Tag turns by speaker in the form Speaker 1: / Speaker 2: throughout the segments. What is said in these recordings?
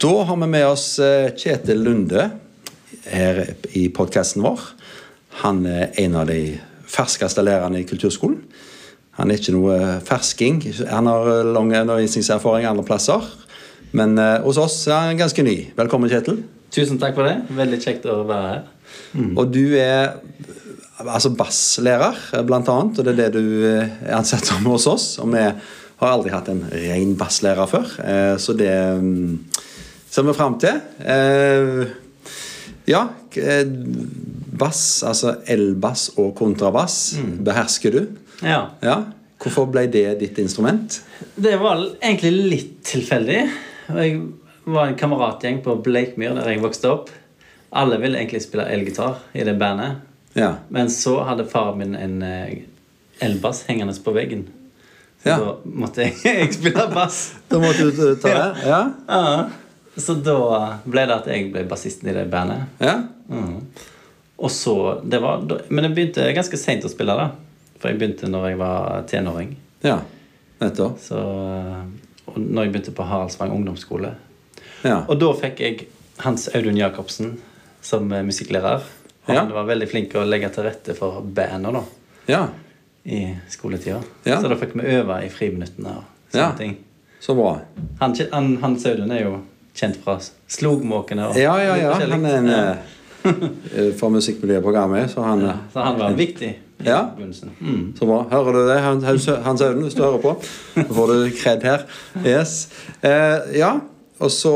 Speaker 1: Da har vi med oss eh, Kjetil Lunde her i podkasten vår. Han er en av de ferskeste lærerne i kulturskolen. Han er ikke noe fersking. Han har eh, lang undervisningserfaring andre plasser. Men eh, hos oss er han ganske ny. Velkommen, Kjetil.
Speaker 2: Tusen takk for det. Veldig kjekt å være her.
Speaker 1: Og du er altså basslærer, eh, blant annet, og det er det du eh, er ansatt som hos oss. Og vi har aldri hatt en ren basslærer før, eh, så det mm, ser vi fram til. Eh, Ja, k- eh, bass, altså elbass og kontrabass, behersker du.
Speaker 2: Ja.
Speaker 1: Ja. Hvorfor ble det ditt instrument?
Speaker 2: Det var l- egentlig litt tilfeldig. Og Jeg var en kameratgjeng på Bleikmyr der jeg vokste opp. Alle ville egentlig spille elgitar i det bandet.
Speaker 1: Ja.
Speaker 2: Men så hadde faren min en eh, elbass hengende på veggen. Så
Speaker 1: Ja.
Speaker 2: da måtte jeg, jeg spille bass.
Speaker 1: Da måtte du ta det? Ja.
Speaker 2: Ja. Så da ble det at jeg ble bassisten i det bandet.
Speaker 1: ja.
Speaker 2: Mhm. Og så, det var, da- Men jeg begynte ganske seint å spille, da. For jeg begynte når jeg var tenåring.
Speaker 1: ja. Nettopp.
Speaker 2: Så, eh, og når jeg begynte på Haraldsvang ungdomsskole.
Speaker 1: Ja.
Speaker 2: Og da fikk jeg Hans Audun Jacobsen som eh, musikklærer. Han
Speaker 1: Ja.
Speaker 2: var veldig flink å legge til rette for bandet da,
Speaker 1: ja.
Speaker 2: i skoletida.
Speaker 1: Ja.
Speaker 2: Så da fikk vi øve i friminuttene og sånne
Speaker 1: Ja.
Speaker 2: ting.
Speaker 1: Så bra.
Speaker 2: Han, kje- han, Hans Audun er jo kjent fra Slogmåkene og
Speaker 1: Ja, ja,
Speaker 2: litt
Speaker 1: ja.
Speaker 2: forskjellig.
Speaker 1: Han er en eh, for musikkmiljøprogrammet, så han eh,
Speaker 2: Så han var viktig i
Speaker 1: Ja.
Speaker 2: begynnelsen. Mm.
Speaker 1: Så bra. Hører du det, Hans- Hans Hans Audun, hvis du hører på? Nå får du kred her. Yes. Eh, ja, og så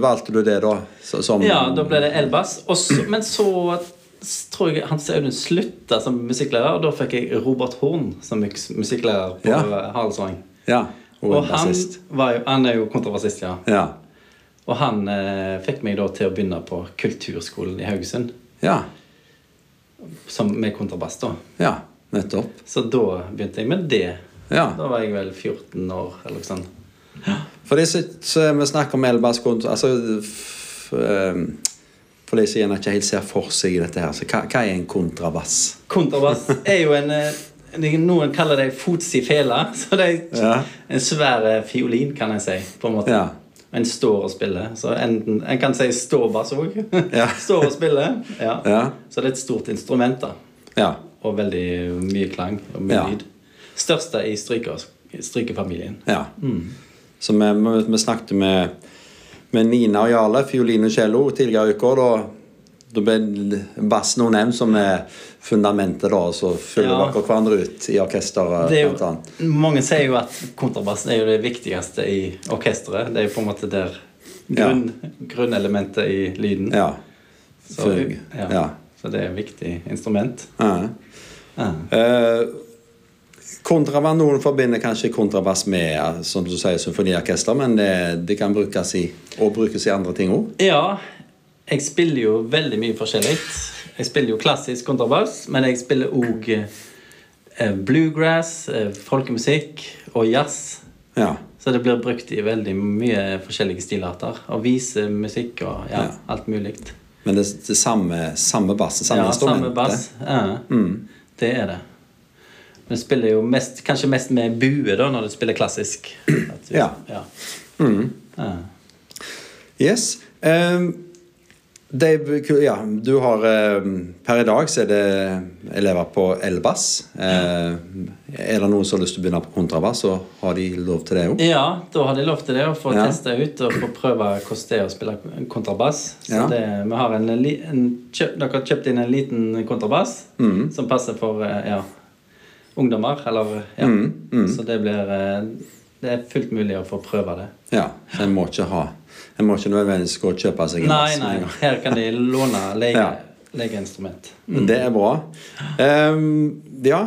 Speaker 1: valgte du det, da, så- som
Speaker 2: Ja, da ble det elbass. Og så- Men så s- tror jeg Hans Audun slutta som musikklærer, og da fikk jeg Robert Horn som mus- musikklærer på
Speaker 1: Ja.
Speaker 2: ja. Haraldsvang.
Speaker 1: Ja, og,
Speaker 2: Og
Speaker 1: og
Speaker 2: han, var jo, han er jo kontrabassist, ja.
Speaker 1: Ja.
Speaker 2: Og han eh, fikk meg da til å begynne på Kulturskolen i Haugesund
Speaker 1: ja.
Speaker 2: som, med kontrabass. da
Speaker 1: Ja. Nettopp.
Speaker 2: Så da begynte jeg med det.
Speaker 1: Ja.
Speaker 2: Da var jeg vel 14 år eller noe sånt.
Speaker 1: For de som som vi snakker om elbasskonto altså, f- ehm, For de som gjerne ikke helt ser for seg dette her, så hva, hva er en kontrabass?
Speaker 2: Kontrabass er jo en eh, Noen kaller det fots i fela. Så det er
Speaker 1: Ja.
Speaker 2: en svær eh, fiolin, kan jeg si. på En måte
Speaker 1: Ja.
Speaker 2: En står og spiller. Så enten, en kan si ståbass òg.
Speaker 1: Ja.
Speaker 2: står og spiller. Ja.
Speaker 1: Ja.
Speaker 2: Så det er et stort instrument, da.
Speaker 1: Ja.
Speaker 2: Og veldig mye klang og mye
Speaker 1: Ja.
Speaker 2: lyd. Største i stryker, strykefamilien.
Speaker 1: Ja. Så vi, vi, vi snakket med, med Nina og Jarle, fiolin og cello, tidligere i uka. Da, da ble bassen hun nevnt som er fundamentet, da, og så fyller
Speaker 2: Ja.
Speaker 1: dere hverandre ut i orkesteret,
Speaker 2: Det er
Speaker 1: blant
Speaker 2: jo,
Speaker 1: annet.
Speaker 2: mange sier jo at kontrabassen er jo det viktigste i orkesteret. Det er jo på en måte der
Speaker 1: Ja.
Speaker 2: grunn, grunnelementet i lyden.
Speaker 1: Ja.
Speaker 2: Så,
Speaker 1: Fug.
Speaker 2: ja.
Speaker 1: Ja.
Speaker 2: så det er et viktig instrument. Ah.
Speaker 1: ja. Eh, kontrabass, Noen forbinder kanskje kontrabass med ja, som du sier, symfoniorkester, men det, det kan brukes i, og brukes i andre ting òg.
Speaker 2: Ja, jeg spiller jo veldig mye forskjellig. Jeg spiller jo klassisk kontrabass, men jeg spiller òg eh, bluegrass, eh, folkemusikk og jazz.
Speaker 1: Ja.
Speaker 2: Så det blir brukt i veldig mye forskjellige stilarter. Og visemusikk og
Speaker 1: Ja.
Speaker 2: ja, alt mulig.
Speaker 1: Men det, det samme, samme bassen, samme Mm.
Speaker 2: Ja,
Speaker 1: instrumentet.
Speaker 2: samme bass. Ja, Det er det. Men du spiller jo mest, kanskje mest med bue da, når du spiller klassisk. At du,
Speaker 1: Ja. Mm.
Speaker 2: ja. Ja.
Speaker 1: Yes. Ehm, de, ja, du har ehm, Per i dag så er det elever på elbass. Ehm, er det noen som har lyst til å begynne på kontrabass, så har de lov til det òg?
Speaker 2: Ja, da har de lov til det, å få
Speaker 1: Ja.
Speaker 2: teste ut og få prøve hvordan det er å spille kontrabass. Så
Speaker 1: Ja.
Speaker 2: det, vi har en, li- en kjøp, Dere har kjøpt inn en liten kontrabass
Speaker 1: Mm.
Speaker 2: som passer for eh, ja, ungdommer, eller ja.
Speaker 1: Mm,
Speaker 2: Så det blir eh, Det er fullt mulig å få prøve det.
Speaker 1: Ja. Så en må ikke ha En må ikke nødvendigvis gå og kjøpe seg en
Speaker 2: Nei,
Speaker 1: bass. med
Speaker 2: nei,
Speaker 1: en gang.
Speaker 2: her kan de låne lege,
Speaker 1: Ja.
Speaker 2: legeinstrument.
Speaker 1: Det er bra. Ehm, ja,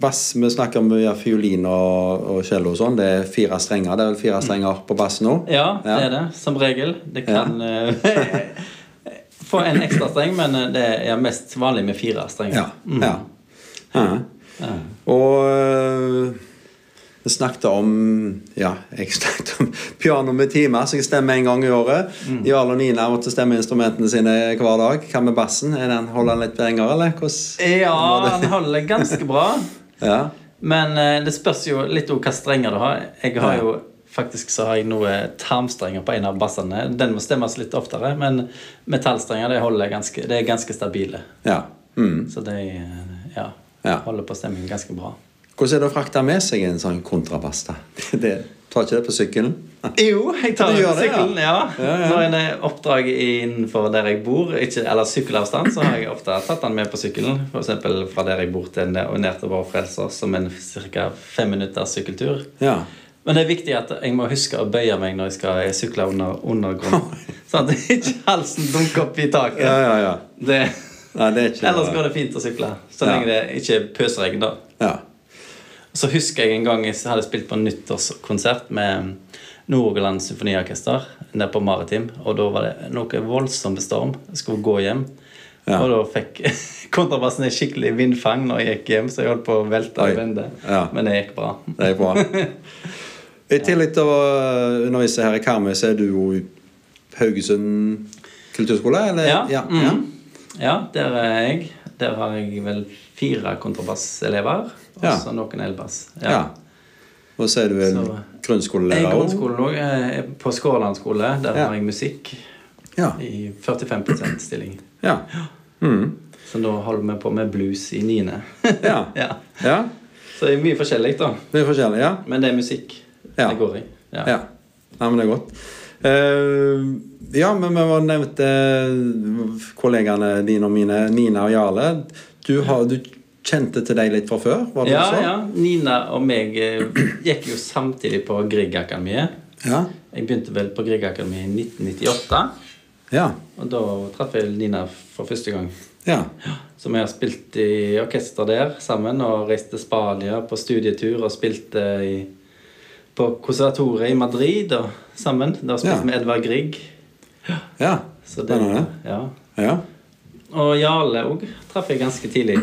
Speaker 1: bass Vi snakker om ja, fiolin og, og cello og sånn. Det er fire strenger. Det er vel fire
Speaker 2: Mm.
Speaker 1: strenger på bass nå?
Speaker 2: Ja, det
Speaker 1: Ja.
Speaker 2: er det, som regel. Det kan eh, få en ekstra streng, men eh, det er mest vanlig med fire strenger.
Speaker 1: Ja. ja. ja. Og øh, vi snakket om Ja, jeg snakket om piano med timer, så jeg stemmer en gang i året.
Speaker 2: Mm.
Speaker 1: Jarle og Nina måtte stemme instrumentene sine hver dag. Hva med bassen? Er den, holder den litt lenger, eller? Hvordan?
Speaker 2: Ja, han holder ganske bra.
Speaker 1: Ja.
Speaker 2: Men eh, det spørs jo litt om hva strenger du har. Jeg har jo Faktisk så har jeg noe tarmstrenger på en av bassene. Den må stemmes litt oftere, men metallstrenger det holder ganske, det er ganske stabile.
Speaker 1: Ja. Mm.
Speaker 2: Så de ja,
Speaker 1: Ja.
Speaker 2: holder på stemmingen ganske bra.
Speaker 1: Hvordan er det å frakte med seg en sånn kontrabass? da? Det, det, tar ikke det på sykkelen?
Speaker 2: Jo, jeg tar
Speaker 1: Du gjør det, ja.
Speaker 2: sykkelen, ja.
Speaker 1: Ja, ja.
Speaker 2: Når en er oppdrag innenfor der jeg bor, ikke, eller sykkelavstand, så har jeg ofte tatt den med på sykkelen. F.eks. fra der jeg bor til ned- og ned til Vår Frelser, som en ca. fem minutters sykkeltur.
Speaker 1: Ja.
Speaker 2: Men det er viktig at jeg må huske å bøye meg når jeg skal sykle under undergrunnen. Sånn at ikke halsen dunker opp i taket.
Speaker 1: Ja, ja, ja.
Speaker 2: Det,
Speaker 1: Nei, det er ikke
Speaker 2: ellers går det fint å sykle. Så
Speaker 1: Ja.
Speaker 2: lenge det ikke er pøsregn, da.
Speaker 1: Ja.
Speaker 2: Så husker jeg en gang jeg hadde spilt på en nyttårskonsert med Nord-Rogaland Symfoniorkester nede på Maritim. Og da var det noe voldsom storm. Jeg skulle gå hjem.
Speaker 1: Ja.
Speaker 2: Og da fikk kontrabassen et skikkelig vindfang når jeg gikk hjem, så jeg holdt på å velte
Speaker 1: Oi.
Speaker 2: og vende.
Speaker 1: Ja.
Speaker 2: Men det gikk bra.
Speaker 1: Det er bra. I tillegg til å undervise her i Karmøy, så er du jo i Haugesund kulturskole? Eller?
Speaker 2: Ja.
Speaker 1: Ja.
Speaker 2: mm. ja, der er jeg. Der har jeg vel fire kontrabasselever. Og
Speaker 1: Ja.
Speaker 2: så noen elbass.
Speaker 1: ja. Og så er du vel
Speaker 2: Så- Jeg
Speaker 1: grunnskolelærer?
Speaker 2: er
Speaker 1: også?
Speaker 2: grunnskolen òg. På Skåland skole. Der
Speaker 1: Ja.
Speaker 2: har jeg musikk
Speaker 1: Ja.
Speaker 2: i 45 stilling.
Speaker 1: Ja. Mm.
Speaker 2: Så nå holder vi på med blues i niende.
Speaker 1: Ja.
Speaker 2: ja.
Speaker 1: ja.
Speaker 2: Så det er mye forskjellig, da.
Speaker 1: Det er forskjellig, ja.
Speaker 2: Men det er musikk.
Speaker 1: Ja.
Speaker 2: Det går i. Ja.
Speaker 1: Ja. Nei, men det er godt. Eh, ja, men vi var nevnte kollegaene dine og mine, Nina og Jarle. Du, har, du kjente til deg litt fra før? Var det
Speaker 2: ja,
Speaker 1: så?
Speaker 2: ja. Nina og meg eh, gikk jo samtidig på Griegakademiet.
Speaker 1: Ja.
Speaker 2: Jeg begynte vel på Griegakademiet i 1998.
Speaker 1: Ja.
Speaker 2: Og da traff jeg Nina for første gang.
Speaker 1: ja.
Speaker 2: Så vi har spilt i orkester der sammen og reist til Spania på studietur og spilte i, på konservatoriet i Madrid og sammen. Da spilte
Speaker 1: Ja.
Speaker 2: vi med Edvard Grieg.
Speaker 1: ja.
Speaker 2: Så det,
Speaker 1: Spennende.
Speaker 2: ja.
Speaker 1: Ja.
Speaker 2: Og Jarle òg traff jeg ganske tidlig.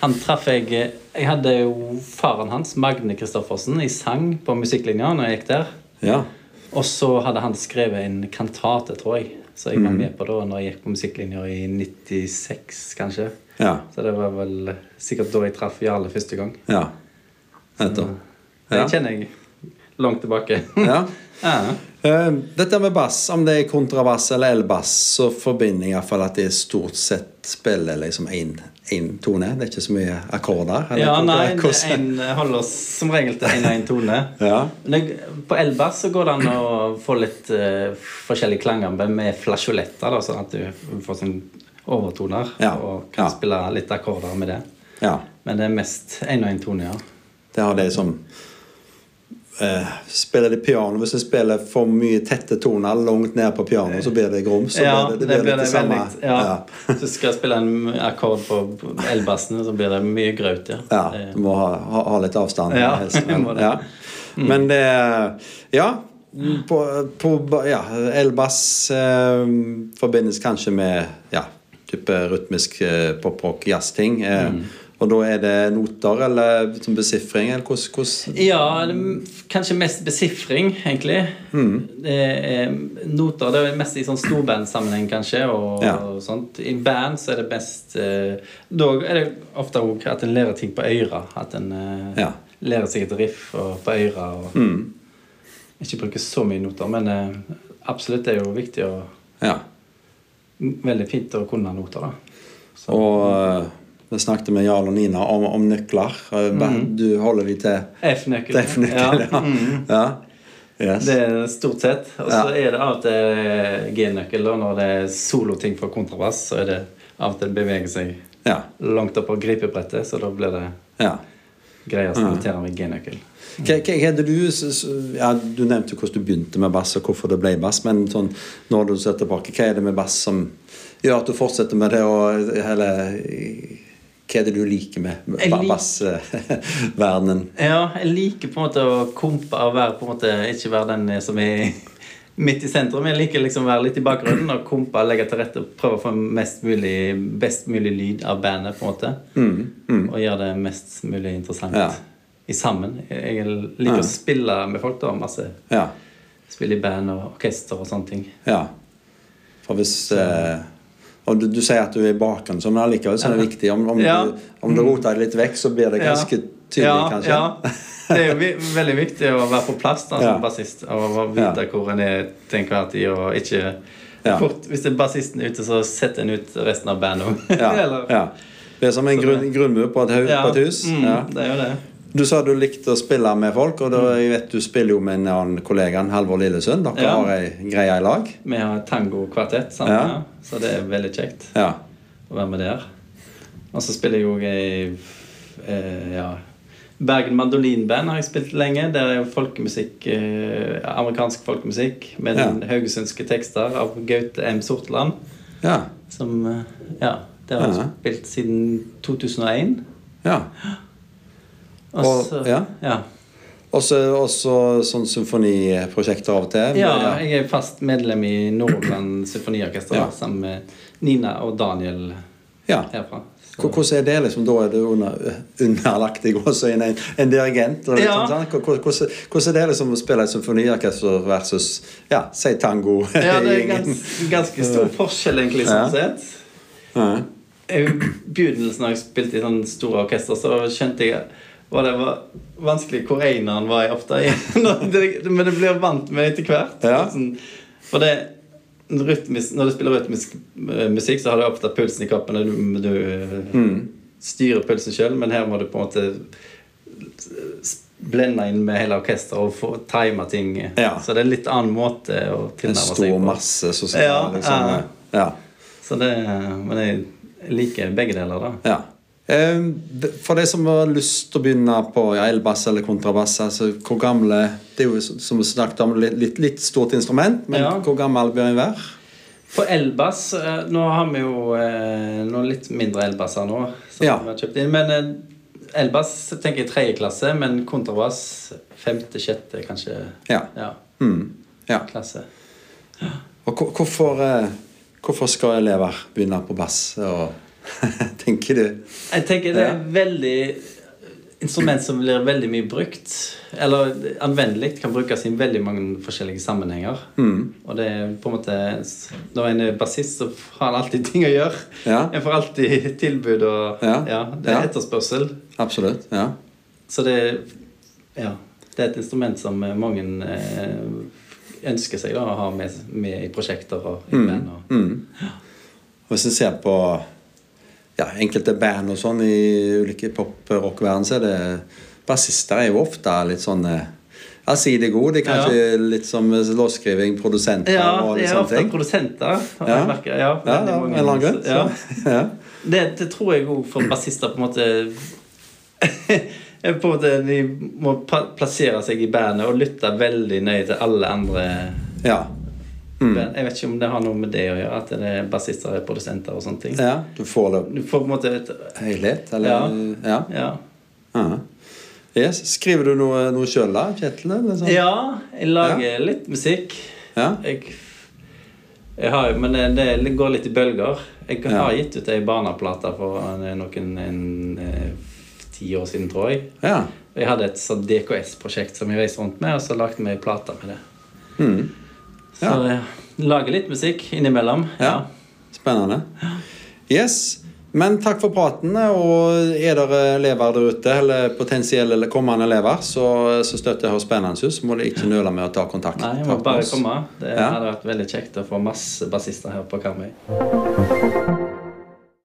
Speaker 2: Han traff jeg Jeg hadde jo faren hans, Magne Christoffersen, i sang på musikklinja når jeg gikk der.
Speaker 1: Ja.
Speaker 2: Og så hadde han skrevet en kantate, tror jeg, som jeg var
Speaker 1: Mhm.
Speaker 2: med på da når jeg gikk på musikklinja i 96, kanskje.
Speaker 1: Ja.
Speaker 2: Så det var vel sikkert da jeg traff Jarle første gang.
Speaker 1: ja. Nettopp.
Speaker 2: Det
Speaker 1: Ja.
Speaker 2: kjenner jeg langt tilbake.
Speaker 1: Ja.
Speaker 2: ja.
Speaker 1: Eh, dette med bass, om det er kontrabass eller elbass, så forbinder jeg iallfall at det stort sett spiller liksom én tone. Det er ikke så mye akkorder. eller
Speaker 2: Ja, nei, det
Speaker 1: hvordan-
Speaker 2: er en holder oss som regel til én og én tone.
Speaker 1: Ja.
Speaker 2: Men det- På elbass så går det an å få litt eh, forskjellige klanger med- med flasjoletter, da, sånn at du får sånn overtoner
Speaker 1: Ja,
Speaker 2: og kan
Speaker 1: ja.
Speaker 2: spille litt akkorder med det.
Speaker 1: Ja,
Speaker 2: Men det er mest én og én tone, ja.
Speaker 1: det har de som eh, spiller det piano. Hvis du spiller for mye tette toner langt ned på pianoet, så blir det grums. Så
Speaker 2: ja,
Speaker 1: blir det, det, blir litt det samme.
Speaker 2: veldig- Ja. Så skal jeg spille en akkord på elbassen, så blir det mye graut, ja. Eh,
Speaker 1: Ja,
Speaker 2: Det-
Speaker 1: du må ha, ha, ha litt avstand.
Speaker 2: Ja,
Speaker 1: helst,
Speaker 2: du må det. Mm.
Speaker 1: ja. Men det Ja. På, på ba- ja, elbass eh, forbindes kanskje med ja, type rytmisk eh, poprock, jazzting. Eh,
Speaker 2: Mm.
Speaker 1: Og da er det noter eller som besifring, eller hvordan, hvordan
Speaker 2: Ja, det er kanskje mest besifring, egentlig.
Speaker 1: Mm.
Speaker 2: Det er noter det er mest i sånn storbandsammenheng, kanskje. Og,
Speaker 1: Ja.
Speaker 2: og sånt. I band så er det best eh, Dog er det ofte òg at en lærer ting på øyra. At en eh,
Speaker 1: Ja. Mm.
Speaker 2: lærer seg et riff og, på øyra. Og, Ikke bruker så mye noter, men eh, absolutt det er jo viktig og
Speaker 1: Ja.
Speaker 2: veldig fint å kunne noter. da.
Speaker 1: Og eh, vi snakket med Jarl og Nina om, om nøkler. Eh,
Speaker 2: Mm.
Speaker 1: Du holder de til
Speaker 2: F-nøkkelen.
Speaker 1: F-nøkkel, ja. ja. Yes.
Speaker 2: Mm. Det er stort sett. Og så
Speaker 1: Ja.
Speaker 2: er det av og til eh, G-nøkkel. Og når det er soloting for kontrabass, så er det av og til beveger seg
Speaker 1: Ja.
Speaker 2: langt opp på gripebrettet, så da blir det
Speaker 1: ja.
Speaker 2: greiest å notere med G-nøkkel.
Speaker 1: Hva, hva, hva er det du, s- s- ja, du nevnte jo hvordan du begynte med bass, og hvorfor det ble bass. Men sånn, når du ser tilbake, hva er det med bass som gjør at du fortsetter med det? Og, eller hva er det du liker med
Speaker 2: Jeg lik-
Speaker 1: bassverdenen?
Speaker 2: Ja, jeg liker på en måte å kompe og være på en måte ikke være den som er midt i sentrum. Jeg liker liksom å være litt i bakgrunnen og kompe og legge til rette og prøve å få mest mulig, best mulig lyd av bandet, på en måte. Og gjøre det mest mulig interessant
Speaker 1: Mm, Ja.
Speaker 2: i sammen. Jeg liker
Speaker 1: Ja.
Speaker 2: å spille med folk, da. Masse
Speaker 1: Ja.
Speaker 2: spille i band og orkester og sånne ting.
Speaker 1: Ja. For hvis eh, Og du, du sier at du er i bakgrunnen, så- men allikevel så er det viktig. Om, om,
Speaker 2: Ja.
Speaker 1: du, om du roter det litt vekk, så blir det
Speaker 2: Ja.
Speaker 1: ganske tydelig, kanskje.
Speaker 2: Ja. Det er jo vi, veldig viktig å være på plass da,
Speaker 1: Ja.
Speaker 2: som bassist og å vite
Speaker 1: Ja.
Speaker 2: hvor en er til enhver tid. og ikke...
Speaker 1: Ja.
Speaker 2: Fort, hvis det er bassisten ute, så setter en ut resten av bandet òg.
Speaker 1: Ja, ja. Det er som en grunn, grunnmur på et, hau- på et hus.
Speaker 2: Mm,
Speaker 1: Ja.
Speaker 2: Det er jo det.
Speaker 1: Du sa du likte å spille med folk, og da, jeg vet du spiller jo med en annen kollega, en Halvor Lillesund. Dere
Speaker 2: Mm. Ja.
Speaker 1: har ei greie i lag.
Speaker 2: Vi har tangokvartett, sant?
Speaker 1: Ja.
Speaker 2: Ja. så det er veldig kjekt
Speaker 1: Ja.
Speaker 2: å være med der. Og så spiller jeg òg i eh, ja, Bergen Mandolinband har jeg spilt lenge. Der er jo folkemusikk, eh, amerikansk folkemusikk med
Speaker 1: Ja.
Speaker 2: haugesundske tekster av Gaute M. Sortland.
Speaker 1: Ja.
Speaker 2: Som eh, Ja, der har jeg
Speaker 1: Ja.
Speaker 2: spilt siden 2001.
Speaker 1: ja.
Speaker 2: Og
Speaker 1: Og-
Speaker 2: så,
Speaker 1: ja.
Speaker 2: ja.
Speaker 1: Og så også sånn symfoniprosjekter av og til.
Speaker 2: Ja, jeg er fast medlem i Nordland Symfoniorkester
Speaker 1: Ja.
Speaker 2: da, sammen med Nina og Daniel
Speaker 1: Ja.
Speaker 2: herfra.
Speaker 1: Hvor- Hvordan er det? liksom, Da er du under, underlagt i gåseøyne en, en dirigent. Og litt
Speaker 2: Ja.
Speaker 1: sånn, sant? Hvor- hvor- Hvordan, hvordan er det liksom å spille et symfoniorkester versus ja, si tango?
Speaker 2: Ja, det er
Speaker 1: gjengen?
Speaker 2: gans, ganske stor forskjell, egentlig, sånn
Speaker 1: Ja.
Speaker 2: sett.
Speaker 1: Ja.
Speaker 2: I begynnelsen da jeg spilte i sånn store orkester, så skjønte jeg hva det var vanskelig hvor eneren var jeg ofte. Når det- Men det blir jeg vant med etter hvert.
Speaker 1: Ja.
Speaker 2: Sånn, For det rytmisk, Når du spiller rytmisk eh, musikk, så har du ofte pulsen i kroppen, og du, du eh,
Speaker 1: Mm.
Speaker 2: styrer pulsen sjøl, men her må du på en måte s- blende inn med hele orkesteret og få time ting.
Speaker 1: Ja.
Speaker 2: Så det er en litt annen måte å
Speaker 1: En
Speaker 2: tilnærme seg
Speaker 1: stor masse som sitter
Speaker 2: Ja,
Speaker 1: der, liksom. Ja.
Speaker 2: Så det, eh, men jeg liker begge deler, da.
Speaker 1: ja. Eh, For de som har lyst til å begynne på ja, elbass eller kontrabass altså hvor gamle, Det er jo som vi snakket om litt, litt, litt stort instrument, men
Speaker 2: Ja.
Speaker 1: hvor gammel bør en være?
Speaker 2: På elbass eh, Nå har vi jo eh, noen litt mindre elbasser nå. Som
Speaker 1: Ja.
Speaker 2: vi har kjøpt inn Men eh, elbass tenker jeg tredje klasse, men kontrabass femte, sjette, kanskje.
Speaker 1: Ja.
Speaker 2: Ja,
Speaker 1: Mm. ja.
Speaker 2: klasse.
Speaker 1: Og hvor- hvorfor, eh, hvorfor skal elever begynne på bass? Og tenker du
Speaker 2: Jeg tenker det er veldig Instrument som blir veldig mye brukt, eller anvendelig, kan brukes i veldig mange forskjellige sammenhenger.
Speaker 1: Mm.
Speaker 2: Og det er på en måte Når en er bassist, så har han alltid ting å gjøre.
Speaker 1: Ja.
Speaker 2: En får alltid tilbud og
Speaker 1: Ja.
Speaker 2: Det er
Speaker 1: Ja.
Speaker 2: etterspørsel.
Speaker 1: Absolutt. Ja.
Speaker 2: Så det Ja. Det er et instrument som eh, mange eh, ønsker seg da, å ha med, med i prosjekter og
Speaker 1: Mm.
Speaker 2: i band. Og,
Speaker 1: Og Hvis en ser på ja, enkelte band og sånn i ulike pop-rock-verden, så er det Bassister er jo ofte litt sånn eh, ja, si det gode. De er kanskje litt som eh, låtskriving, produsenter
Speaker 2: Ja,
Speaker 1: og litt
Speaker 2: det er
Speaker 1: sånne
Speaker 2: ofte
Speaker 1: ting.
Speaker 2: produsenter. har
Speaker 1: Ja.
Speaker 2: jeg merket. ja,
Speaker 1: Ja,
Speaker 2: veldig
Speaker 1: ja,
Speaker 2: mange-
Speaker 1: en eller annen grunn.
Speaker 2: Ja.
Speaker 1: så- Ja.
Speaker 2: Det, det tror jeg òg for bassister på en måte På en måte De må pa- plassere seg i bandet og lytte veldig nøye til alle andre
Speaker 1: ja. Mm.
Speaker 2: band. Jeg vet ikke om det har noe med det å gjøre, at det er bassister er produsenter og sånne ting.
Speaker 1: ja. Du får det
Speaker 2: Du får på en måte et
Speaker 1: helhet, eller Ja.
Speaker 2: Ja.
Speaker 1: Ja. Yes. Skriver du noe, noe sjøl, da, Kjetil? eller sånn?
Speaker 2: Ja, jeg lager litt musikk.
Speaker 1: Ja.
Speaker 2: Jeg, jeg har, jo- men det, det går litt i bølger. Jeg har gitt ut ei barneplate for en- noen en, eh, ti år siden, tror jeg.
Speaker 1: ja.
Speaker 2: Jeg hadde et sånt DKS-prosjekt som jeg reiste rundt med, og så lagde vi ei plate med det. Så
Speaker 1: Mm. Ja.
Speaker 2: jeg lager litt musikk innimellom.
Speaker 1: Ja. Spennende. Yes. Men takk for praten. Og er dere elever der ute, eller potensielle eller kommende elever, så, så støtter jeg Hør spennende ut, så må dere ikke nøle med å ta kontakt.
Speaker 2: Nei, jeg må
Speaker 1: Takk for
Speaker 2: bare
Speaker 1: oss.
Speaker 2: komme. Det
Speaker 1: Ja.
Speaker 2: hadde vært veldig kjekt å få masse bassister her på Karmøy.
Speaker 1: Ja.